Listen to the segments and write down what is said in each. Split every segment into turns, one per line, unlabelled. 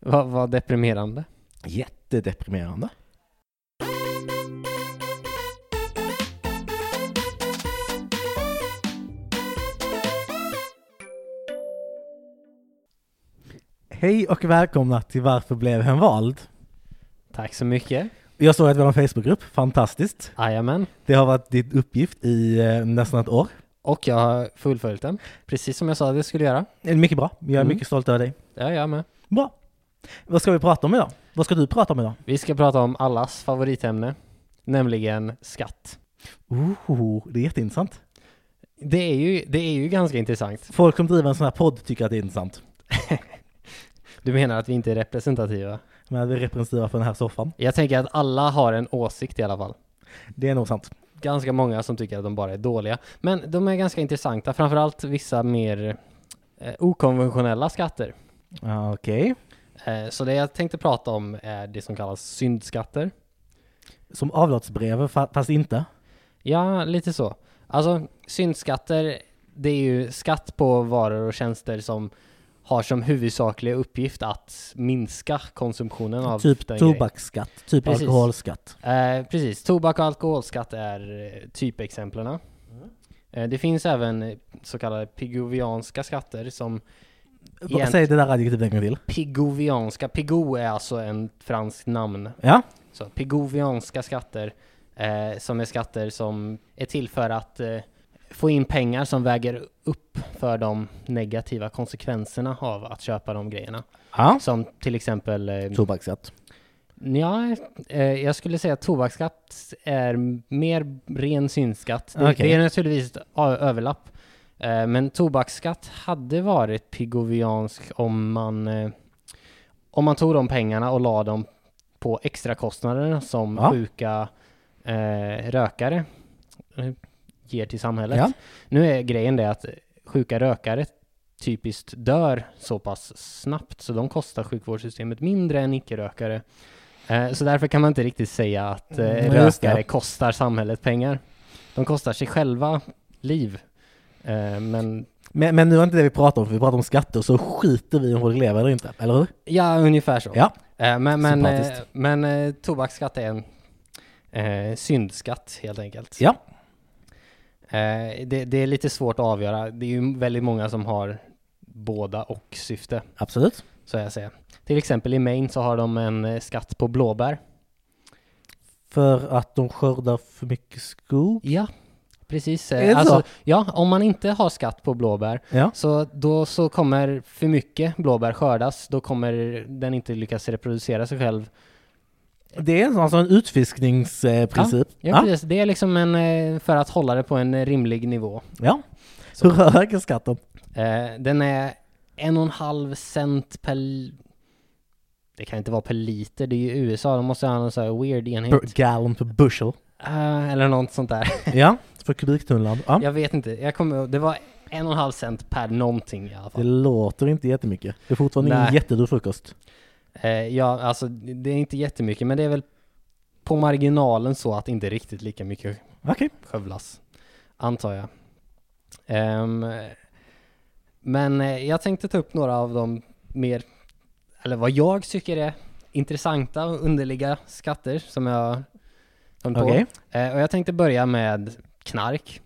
Vad var deprimerande?
Jättedeprimerande. Hej och välkomna till Varför blev hen vald?
Tack så mycket.
Jag såg att vi har en Facebookgrupp, fantastiskt.
Jajamän.
Det har varit din uppgift i eh, nästan ett år.
Och jag har fullföljt den. Precis som jag sa att jag skulle göra.
Det är Mycket bra, jag är
Mm.
mycket stolt över dig.
Ja, jag med.
Bra. Vad ska vi prata om idag? Vad ska du prata om idag?
Vi ska prata om allas favoritämne, nämligen skatt.
Oh, det är jätteintressant.
Det är ju, det är ju ganska intressant.
Folk som driver en sån här podd tycker att det är intressant.
Du menar att vi inte är representativa?
Men vi är representativa för den här soffan.
Jag tänker att alla har en åsikt i alla fall.
Det är nog sant.
Ganska många som tycker att de bara är dåliga. Men de är ganska intressanta, framförallt vissa mer eh, okonventionella skatter.
Ja, Okej.
Eh, så det jag tänkte prata om är det som kallas syndskatter.
Som avlatsbrev, fa- fast inte.
Ja, lite så. Alltså, syndskatter, det är ju skatt på varor och tjänster som har som huvudsaklig uppgift att minska konsumtionen av
typ
den
tobaksskatt, typ
Precis.
alkoholskatt.
grejen. Eh, precis, tobak och alkoholskatt är eh, typexemplen. Eh, det finns även eh, så kallade pigovianska skatter som Egent-
Säg det där adjektivet en gång till.
pigovianska, pigo är alltså en fransk namn
Ja,
Så pigovianska skatter, eh, som är skatter som är till för att eh, få in pengar som väger upp för de negativa konsekvenserna av att köpa de grejerna.
ja.
Som till exempel, eh,
tobaksskatt.
ja, eh, jag skulle säga att tobaksskatt är mer ren synskatt. Det,
Okej.
det är naturligtvis ett ö- överlapp. Eh, men tobaksskatt hade varit pigoviansk om man, eh, om man tog de pengarna och la dem på extrakostnaderna som
Ja.
sjuka eh, rökare eh, ger till samhället.
Ja.
Nu är grejen det att sjuka rökare typiskt dör så pass snabbt så de kostar sjukvårdssystemet mindre än icke-rökare. Eh, så därför kan man inte riktigt säga att eh,
Mm, just det.
rökare kostar samhället pengar. De kostar sig själva liv. Eh, men
Men, men nu är inte det vi pratar om, för vi pratar om skatter, så skiter vi i om folk lever eller inte, eller hur?
ja, ungefär så.
Ja.
Eh, men men, eh,
Sympatiskt.
men eh, tobaksskatt är en eh, syndskatt helt enkelt.
Ja.
Eh, det, det är lite svårt att avgöra. Det är ju väldigt många som har båda och syfte.
Absolut.
så jag säga. Till exempel i Maine så har de en eh, skatt på blåbär.
För att de skördar för mycket skog.
Ja, precis.
Är det
Eh,
så?
Alltså, ja, om man inte har skatt på blåbär
Ja.
så då så kommer för mycket blåbär skördas. Då kommer den inte lyckas reproducera sig själv.
Det är en sån- alltså en utfiskningsprincip.
Ja, precis. Det är liksom en, eh, för att hålla det på en eh, rimlig nivå.
ja.
Så.
Hur hög är skatten?
Eh, Den är en och en halv cent per... li- Det kan inte vara per liter, det är ju USA, de måste ha någon sån här weird enhet.
Per gallon per bushel.
Eh, eller något sånt där.
Ja, för kubiktunnland. Ja.
Jag vet inte, jag kommer, det var en och en halv cent per någonting i alla
Det
fall.
låter inte jättemycket. Det är fortfarande ingen
Nej.
jättedyr frukost.
Eh, ja, alltså det är inte jättemycket, men det är väl på marginalen så att inte riktigt lika mycket
Okej.
skövlas, antar jag. Ehm, men eh, jag tänkte ta upp några av de mer, eller vad jag tycker är intressanta och underliga skatter som jag kom på.
Okej.
Eh, och jag tänkte börja med knark.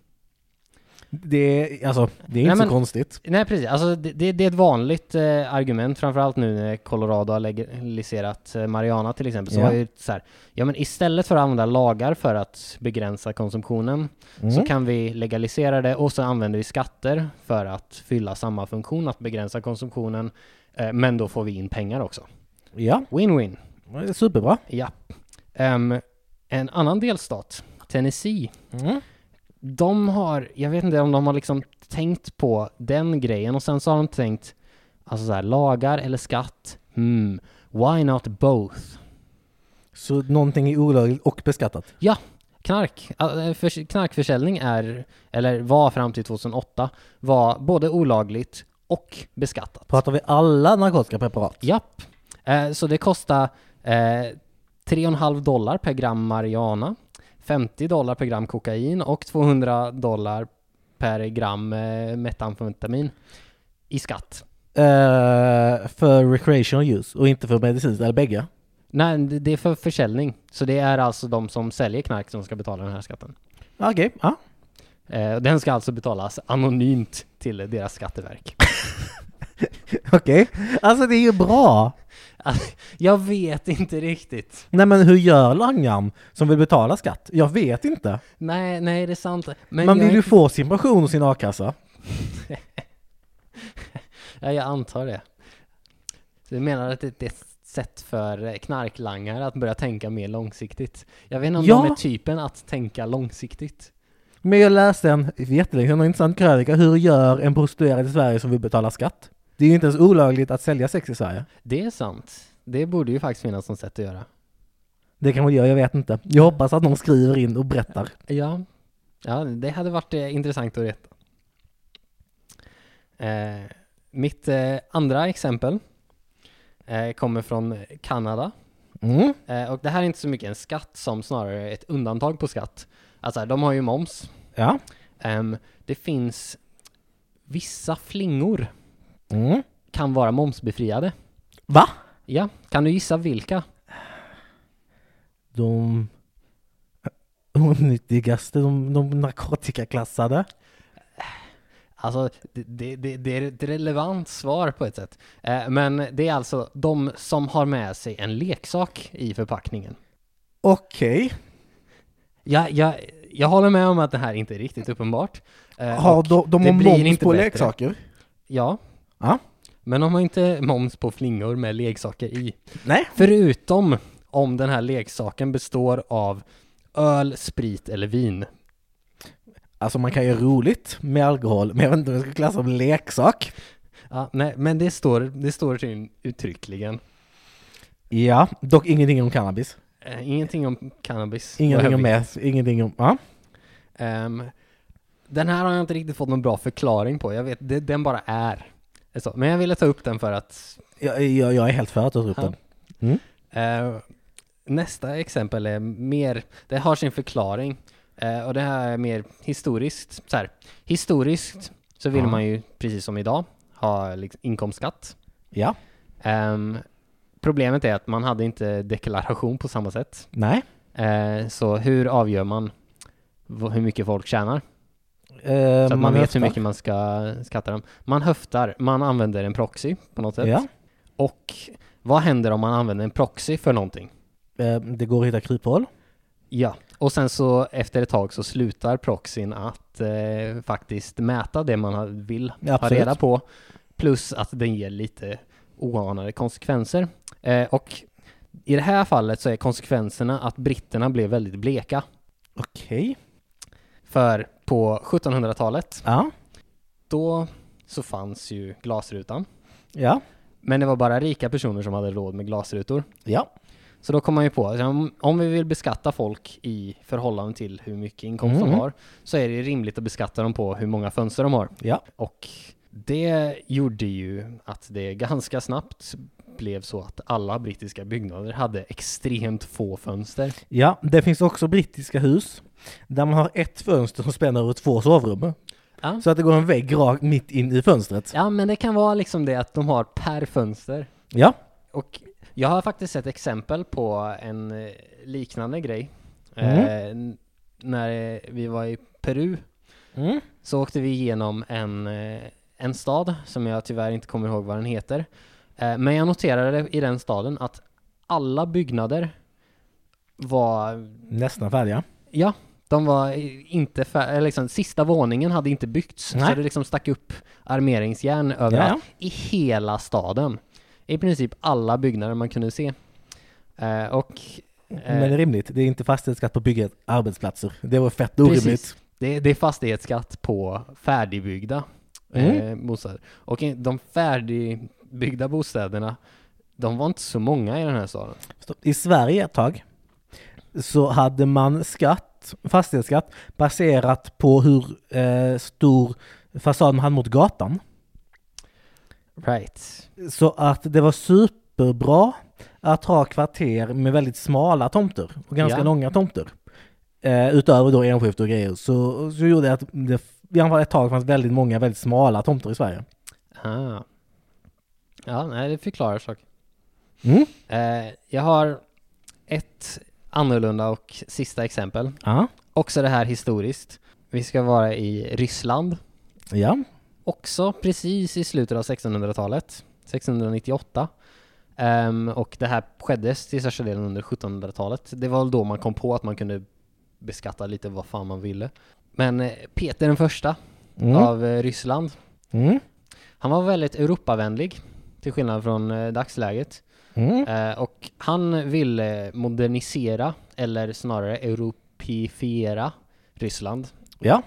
Det är, alltså, det är inte
Nej, men-
så konstigt.
Nej precis, alltså det, det, det är ett vanligt eh, argument, framförallt nu när Colorado har legaliserat eh, marijuana till exempel, så
Ja.
var ju så här, ja men istället för att använda lagar för att begränsa konsumtionen, så
Mm.
kan vi legalisera det och så använder vi skatter för att fylla samma funktion, att begränsa konsumtionen, eh, men då får vi in pengar också.
Ja,
Win-win,
det är superbra.
ja. Ehm, en annan delstat, Tennessee, Mm. de har, jag vet inte om de har liksom tänkt på den grejen och sen så har de tänkt, alltså så här, lagar eller skatt, hmm, why not both?
Så någonting är olagligt och beskattat.
Knark, äh, förs- knarkförsäljning är, eller var fram till 2008, var både olagligt och beskattat.
Pratar vi alla narkotiska preparat?
Japp. Eh, så det kostar eh, 3,5 dollar per gram marijuana, 50 dollar per gram kokain och 200 dollar per gram eh, metamfetamin i skatt.
eh, för recreational use och inte för medicinskt, eller bägge?
Nej, det det är för försäljning. Så det är alltså de som säljer knark som ska betala den här skatten.
Okej, ja.
Eh, och den ska alltså betalas anonymt till deras skatteverk.
Okej. Alltså det är ju bra!
Jag vet inte riktigt.
Nej men hur gör langaren som vill betala skatt? Jag vet inte.
Nej, nej det är sant. Men
Man
jag,
vill ju få sin pension och sin a-kassa.
ja, jag antar det. Så du menar att det det är ett sätt för eh, knarklangare att börja tänka mer långsiktigt? Jag vet inte om
Ja.
de är typen att tänka långsiktigt.
Men jag läste en, för jättelänge sedan, en intressant krönika. Hur gör en prostituerad i Sverige som vill betala skatt? Det är ju inte ens olagligt att sälja sex i Sverige.
Det är sant. Det borde ju faktiskt finnas något sätt att göra.
Det kan man göra, jag vet inte. Jag hoppas att någon skriver in och berättar.
Ja, ja det hade varit eh, intressant att veta. Eh, mitt eh, andra exempel eh, kommer från Kanada.
Mm.
Eh, och det här är inte så mycket en skatt som snarare ett undantag på skatt. Alltså, de har ju moms.
Ja.
Ehm, det finns vissa flingor
Mm.
kan vara momsbefriade.
Va?
Ja, kan du gissa vilka?
De onyttigaste, de, de narkotikaklassade.
Alltså, det, det, det, det är ett relevant svar på ett sätt. Eh, men det är alltså de som har med sig en leksak i förpackningen.
Okej.
Jag, jag, jag håller med om att det här inte är riktigt uppenbart. Eh,
Har
och
de, de
det
har
blir
moms
inte
på
bättre.
leksaker?
Ja.
Ja.
Men de har inte moms på flingor med leksaker i.
Nej.
Förutom om den här leksaken består av öl, sprit eller vin.
Alltså man kan ju ha roligt med alkohol, men jag vet inte om jag ska klassa som leksak.
Ja, nej, men det står, det står tydligen uttryckligen.
Ja, dock ingenting om cannabis.
Eh, ingenting om cannabis. vad jag
Ingenting om
vet.
meth, ingenting om... Ja.
Ehm, den här har jag inte riktigt fått någon bra förklaring på. Jag vet, det, den bara är. Så, men jag ville ta upp den för att...
Jag, jag, jag är helt för att du tar upp
Ja.
den.
eh, nästa exempel är mer... Det har sin förklaring. Eh, och det här är mer historiskt. Så här, historiskt så vill
Ja.
man ju, precis som idag, ha liksom, inkomstskatt.
Ja.
Ehm, problemet är att man hade inte deklaration på samma sätt.
Nej.
Eh, så hur avgör man v- hur mycket folk tjänar?
Eh,
Så att man vet
höftar.
hur mycket man ska skatta dem. Man höftar, man använder en proxy på något sätt.
Ja.
Och vad händer om man använder en proxy för någonting?
Eh, det går att hitta kryphål.
Ja, och sen så efter ett tag så slutar proxyn att eh, faktiskt mäta det man har- vill ha
Absolut.
reda på. Plus att den ger lite oanade konsekvenser. Eh, och i det här fallet så är konsekvenserna att britterna blev väldigt bleka.
Okej.
För på 1700-talet,
Ja.
då så fanns ju glasrutan.
Ja.
Men det var bara rika personer som hade råd med glasrutor.
Ja.
Så då kom man ju på att om- om vi vill beskatta folk i förhållande till hur mycket inkomst de
Mm.
har så är det rimligt att beskatta dem på hur många fönster de har.
Ja.
Och det gjorde ju att det ganska snabbt blev så att alla brittiska byggnader hade extremt få fönster.
Ja. Det finns också brittiska hus där man har ett fönster som spänner över två sovrum.
Ja.
Så att det går en vägg rakt mitt in i fönstret.
ja, men det kan vara liksom det att de har per fönster.
Ja.
Och jag har faktiskt sett exempel på en eh, liknande grej.
Mm.
Eh, n- när eh, vi var i Peru
Mm.
så åkte vi igenom en, eh, en stad som jag tyvärr inte kommer ihåg vad den heter. Eh, men jag noterade i den staden att alla byggnader var,
Nästan färdiga.
ja, de var i- inte fär- eller liksom, sista våningen hade inte byggts. Så
Nej.
det liksom stack upp armeringsjärn överallt
Ja.
i hela staden. I princip alla byggnader man kunde se. Eh, och
Men det Eh. är rimligt. Det är inte fastighetsskatt på bygget arbetsplatser. Det var fett
Precis.
orimligt.
det, det är fastighetsskatt på färdigbyggda eh, bostäder. Och i- de färdigbyggda bostäderna, de var inte så många i den här staden.
Stopp. I Sverige ett tag så hade man skatt, fastighetsskatt baserat på hur eh, stor fasaden hade mot gatan.
Right.
Så att det var superbra att ha kvarter med väldigt smala tomter och ganska
Ja.
långa tomter. Eh, utöver då enskift och grejer. Så, så gjorde det att det f- i alla fall ett tag fanns väldigt många väldigt smala tomter i Sverige.
Ah. Ja, nej, det förklarar saker.
Mm.
Eh, jag har ett annorlunda och sista exempel.
Ja.
Också det här historiskt. Vi ska vara i Ryssland.
Ja.
Också precis i slutet av 1600-talet. 1698. Ehm, och det här skedde till största delen under 1700-talet. Det var väl då man kom på att man kunde beskatta lite vad fan man ville. Men eh, Peter den första
Mm.
av eh, Ryssland
Mm.
Han var väldigt Europavänlig, till skillnad från eh, dagsläget.
Mm.
Eh, och han ville modernisera, eller snarare europifiera, Ryssland.
Ja.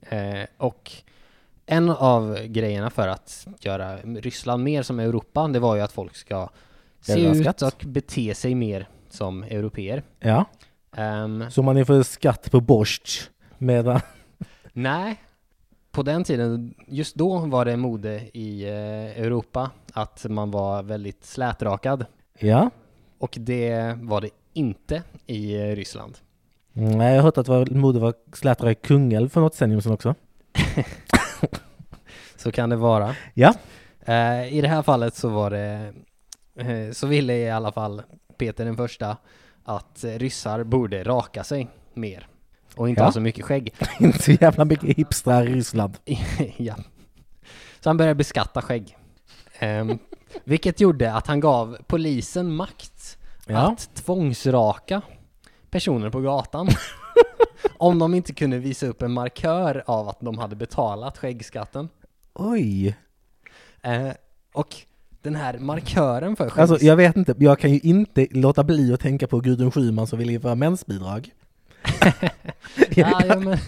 Eh, och en av grejerna för att göra Ryssland mer som Europa, det var ju att folk ska se
Jävla
ut
skatt.
och bete sig mer som europeer.
Ja.
Ehm,
Så man inför skatt på borst medan...
Nej. På den tiden, just då var det mode i eh, Europa att man var väldigt slätrakad.
Ja.
Och det var det inte i eh, Ryssland.
Nej, Mm, jag har hört att vår moder var slätare i Kungälv för något decennium sedan också.
Så kan det vara.
Ja.
Eh, I det här fallet så var det, eh, så ville i alla fall Peter den första att eh, ryssar borde raka sig mer. Och inte
Ja.
ha så mycket skägg.
Inte så jävla mycket hipstrar i Ryssland.
ja. Så han började beskatta skägg. Ehm, vilket gjorde att han gav polisen makt
Ja.
att tvångsraka personer på gatan. om de inte kunde visa upp en markör av att de hade betalat skäggskatten.
Oj.
Eh, och den här markören för skäggs...
Alltså jag vet inte, jag kan ju inte låta bli att tänka på Gudrun Schyman som vill införa mensbidrag.
ja, ja, men,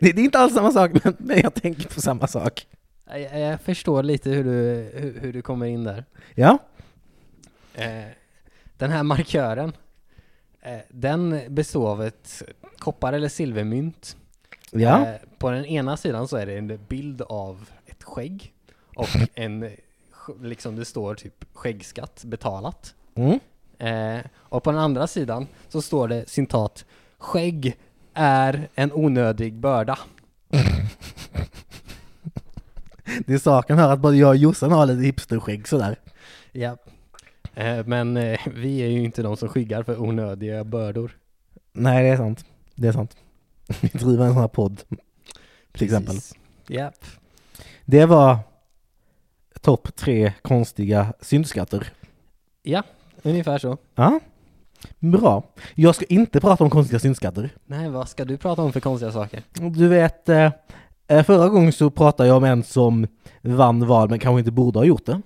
Det, det är inte alls samma sak, men, men jag tänker på samma sak.
jag, jag förstår lite hur du, hur, hur du kommer in där.
Ja,
Eh, den här markören, eh, den består av ett koppar eller silvermynt.
ja,
Eh, på den ena sidan så är det en bild av ett skägg och en, eh, sk- liksom det står typ skäggskatt betalat.
mm.
Eh, och på den andra sidan så står det citat Skägg är en onödig börda.
det är saken här att både jag och Jossan har lite hipsterskägg sådär.
Ja. Eh, men eh, vi är ju inte de som skyggar för onödiga bördor.
Nej, det är sant. Det är sant. Vi driver en sån här podd. Till exempel.
Ja.
Det var topp tre konstiga syndskatter.
ja, ungefär så.
Ja, bra. Jag ska inte prata om konstiga syndskatter.
Nej, vad ska du prata om för konstiga saker?
Du vet, eh, eh, förra gången så pratade jag om en som vann val men kanske inte borde ha gjort det.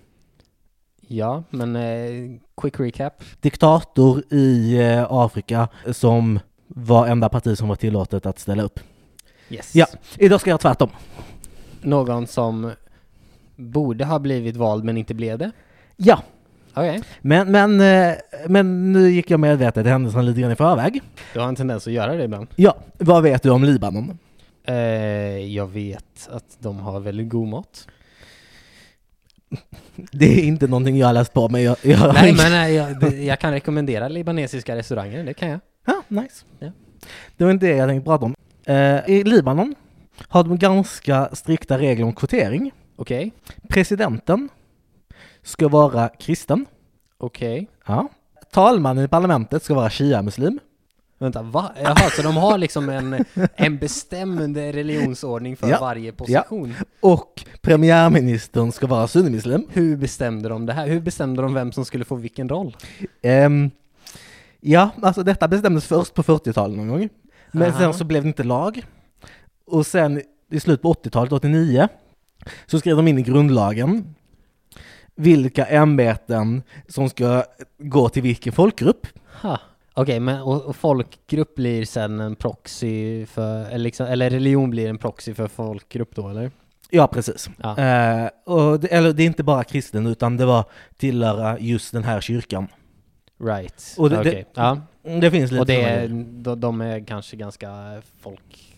Ja, men eh, quick recap.
Diktator i eh, Afrika som var enda parti som var tillåtet att ställa upp.
Yes.
Ja, idag ska jag göra tvärtom.
Någon som borde ha blivit vald men inte blev det.
Ja,
Okej.
men, men, eh, men nu gick jag medvetet händelsen lite grann i förväg.
Du har en tendens att göra det ibland.
Ja, vad vet du om Libanon?
Eh, jag vet att de har väldigt god mat.
Det är inte någonting jag har läst på men jag... jag
Nej, men nej, jag, det- jag kan rekommendera libanesiska restauranger, det kan jag.
Ja, nice.
Ja.
Det var inte det jag tänkte prata om. Eh, I Libanon har de ganska strikta regler om kvotering.
Okej,
Presidenten ska vara kristen.
okej.
Ja. Talmannen i parlamentet ska vara shia-muslim.
Vänta, va? Jaha, så de har liksom en, en bestämd religionsordning för
Ja,
varje position?
Och premiärministern ska vara sunnimuslim.
Hur bestämde de det här? Hur bestämde de vem som skulle få vilken roll?
Ehm, ja, alltså detta bestämdes först på 40-talet någon gång. Men
Aha.
sen så blev det inte lag. Och sen i slutet på 80-talet, 89, så skrev de in i grundlagen vilka ämbeten som ska gå till vilken folkgrupp.
Ha. Okej, men och, och folkgrupp blir sen en proxy för, eller, liksom, eller religion blir en proxy för folkgrupp då eller?
Ja, precis.
Ja.
Eh, och det, eller det är inte bara kristen, utan det var tillhöra just den här kyrkan.
Right.
Och det-
Okej.
det-
ja.
Mm, Det finns lite
och det
sådana
är,
grejer.
de, de är kanske ganska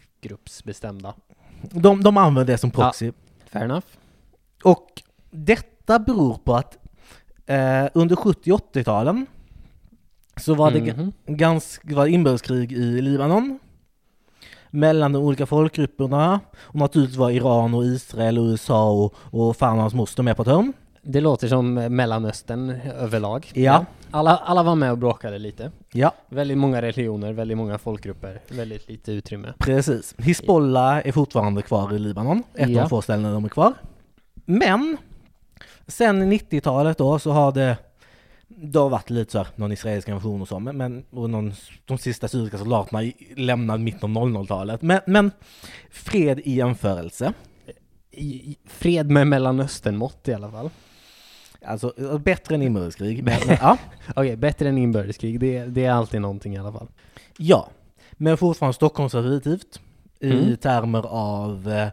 folkgruppsbestämda.
de, de använder det som proxy.
Fair enough.
Och detta beror på att eh, under 70 och 80-talen så var det
Mhm.
ga- ganska, var det inbördeskrig i Libanon mellan de olika folkgrupperna och naturligtvis var Iran och Israel och USA och, och fan och hans moster med på ett hörn.
Det låter som eh, Mellanöstern överlag.
Ja.
Alla, alla var med och bråkade lite.
Ja,
Väldigt många religioner, väldigt många folkgrupper, väldigt lite utrymme.
precis. Hizbollah är fortfarande kvar i Libanon, ett av
Ja.
de få ställen de är kvar. Men sen 90-talet då så har det, det har varit lite så här, någon israelisk invasion och så, men, men och någon, de sista syriska soldaterna i- lämnar mitten av 00-talet. Men, men fred i jämförelse.
I, i- fred med Mellanöstern-mått i alla fall.
Alltså bättre än inbördeskrig. Men, men, ja.
Okej, bättre än inbördeskrig. Det, det är alltid någonting i alla fall.
ja, men fortfarande stockkonservativt i
Mm.
termer av eh,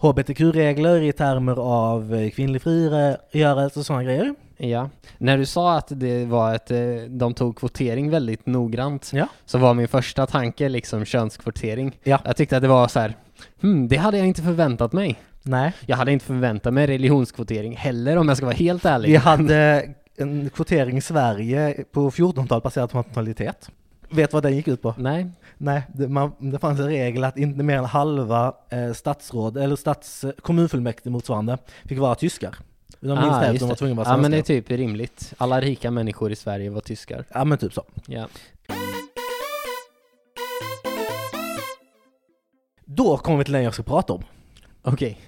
hbtq-regler, i termer av eh, kvinnlig frigörelse och sådana grejer.
Ja. När du sa att det var ett, eh, de tog kvotering väldigt noggrant,
Ja.
så var min första tanke liksom könskvotering.
Ja.
Jag tyckte att det var så här, hmm, det hade jag inte förväntat mig.
Nej.
Jag hade inte förväntat mig religionskvotering heller om jag ska vara helt ärlig.
Vi hade en kvotering i Sverige på 1400-tal baserat på nationalitet. Vet du vad den gick ut på?
Nej,
Nej, det, man, det fanns en regel att inte mer än halva eh, statsråd, eller stats, eh, kommunfullmäktige motsvarande, fick vara tyskar. De minst
Ah,
hälften
just
var
det.
tvungna att vara
ja men det
svenskar.
är typ rimligt. Alla rika människor i Sverige var tyskar.
Ja men typ så.
Ja.
Då kommer vi till den jag ska prata om.
Okej.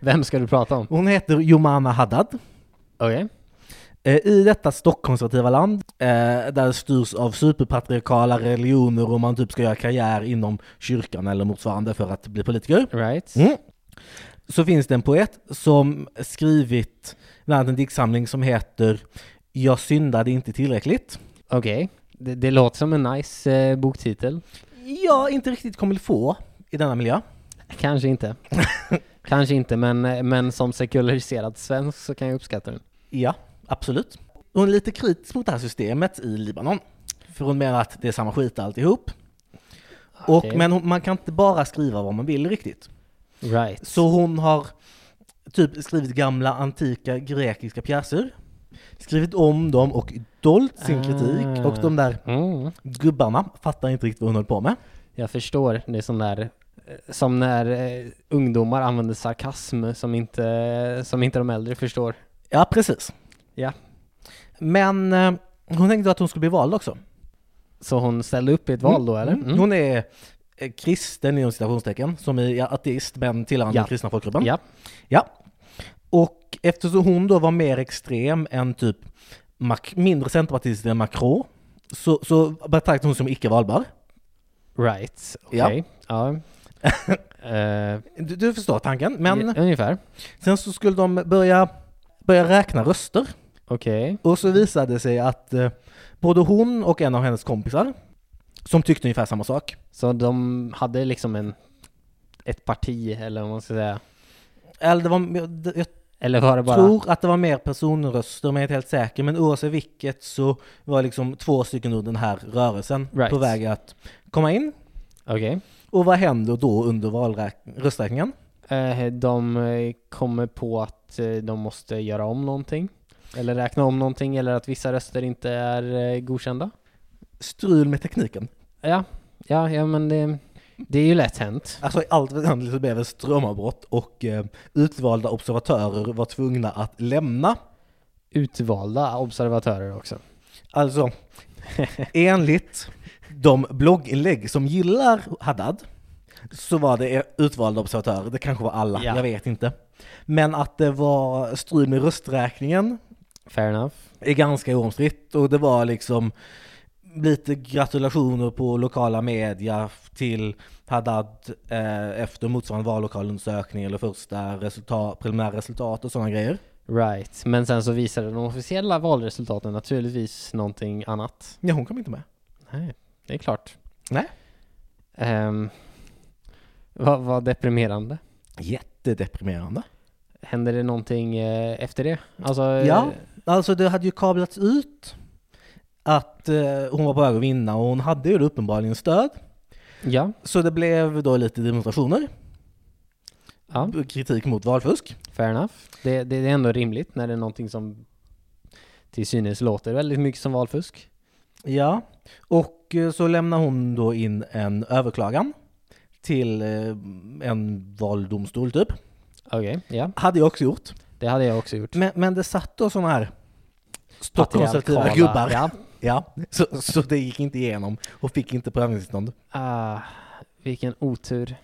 Vem ska du prata om?
Hon heter Jomana Haddad.
Okej.
Eh, I detta stockkonservativa land, eh, där det styrs av superpatriarkala religioner och man typ ska göra karriär inom kyrkan eller motsvarande för att bli politiker,
Right.
Mm. så finns det en poet som skrivit bland annat en diktsamling som heter Jag syndade inte tillräckligt.
Okej. Det, det låter som en nice eh, boktitel.
Jag inte riktigt kommer få i denna miljö.
Kanske inte. Kanske inte, men, eh, men som sekulariserad svensk så kan jag uppskatta den.
Ja, absolut. Hon är lite kritisk mot det här systemet i Libanon. För hon menar att det är samma skit alltihop. Och,
Okej.
men hon, man kan inte bara skriva vad man vill riktigt.
Right.
Så hon har typ skrivit gamla antika grekiska pjäser, skrivit om dem och dolt sin kritik.
Ah.
Och de där
Mm.
gubbarna fattar inte riktigt vad hon håller på med.
Jag förstår. Det är sån där eh, som när eh, ungdomar använder sarkasm som inte, eh, som inte de äldre förstår.
Ja, precis.
Ja.
Men eh, hon tänkte att hon skulle bli vald också.
Så hon ställde upp i ett val då eller?
Mm.
Mm.
Hon är eh, kristen inom citationstecken, som är ja, ateist men tillhör den
Ja.
kristna folkgruppen.
Ja.
Ja. Och eftersom hon då var mer extrem än typ Mac- mindre centerpartist än Macron, så, så betraktade hon som icke valbar.
Right. Okej.
Ja.
Ja. Eh,
Du, du förstår tanken, men
i- Ungefär.
sen så skulle de börja, börja räkna röster.
Okej.
Och så visade det sig att eh, både hon och en av hennes kompisar, som tyckte ungefär samma sak,
Så de hade liksom en, ett parti eller vad man ska säga.
eller det var, jag, jag
Eller var det bara...
tror att det var mer personröster, men jag är inte helt säker, men oavsett vilket så var liksom två stycken ur den här rörelsen
Right.
på väg att komma in.
Okej.
Och vad händer då under valräk- rösträkningen?
Eh, de eh, kommer på att eh, de måste göra om någonting. Eller räkna om någonting eller att vissa röster inte är eh, godkända.
Strul med tekniken.
Ja, ja, ja men det, det är ju lätt hänt.
Alltså i allt väsentligt så blev det strömavbrott och eh, utvalda observatörer var tvungna att lämna
Utvalda observatörer också.
Alltså, enligt de blogginlägg som gillar Haddad så var det utvalda observatörer, det kanske var alla,
Ja.
jag vet inte. Men att det var strul med rösträkningen
Fair enough.
är ganska oomstritt och det var liksom lite gratulationer på lokala media till Haddad eh, efter motsvarande vallokalundersökning eller första resultat, preliminära resultat och sådana grejer.
Right. Men sen så visade de officiella valresultaten naturligtvis någonting annat.
Ja, hon kom inte med.
Nej, det är klart.
Nej.
Ehm, vad, vad deprimerande.
Jättedeprimerande.
Händer det någonting eh, efter det? Alltså, eh,
Ja, alltså det hade ju kablats ut att eh, hon var på väg att vinna och hon hade ju då uppenbarligen stöd.
ja,
Så det blev då lite demonstrationer,
ja,
kritik mot valfusk.
fair enough. Det, det, det är ändå rimligt när det är någonting som till synes låter väldigt mycket som valfusk.
Ja, och eh, så lämnar hon då in en överklagan till eh, en valdomstol typ.
Okej, ja.
Hade jag också gjort.
Det hade jag också gjort.
Men, men det satt då sådana här stockkonservativa
Patriarkala-
gubbar.
Ja.
Ja, så, så det gick inte igenom och fick inte prövningstillstånd.
Ah, vilken otur.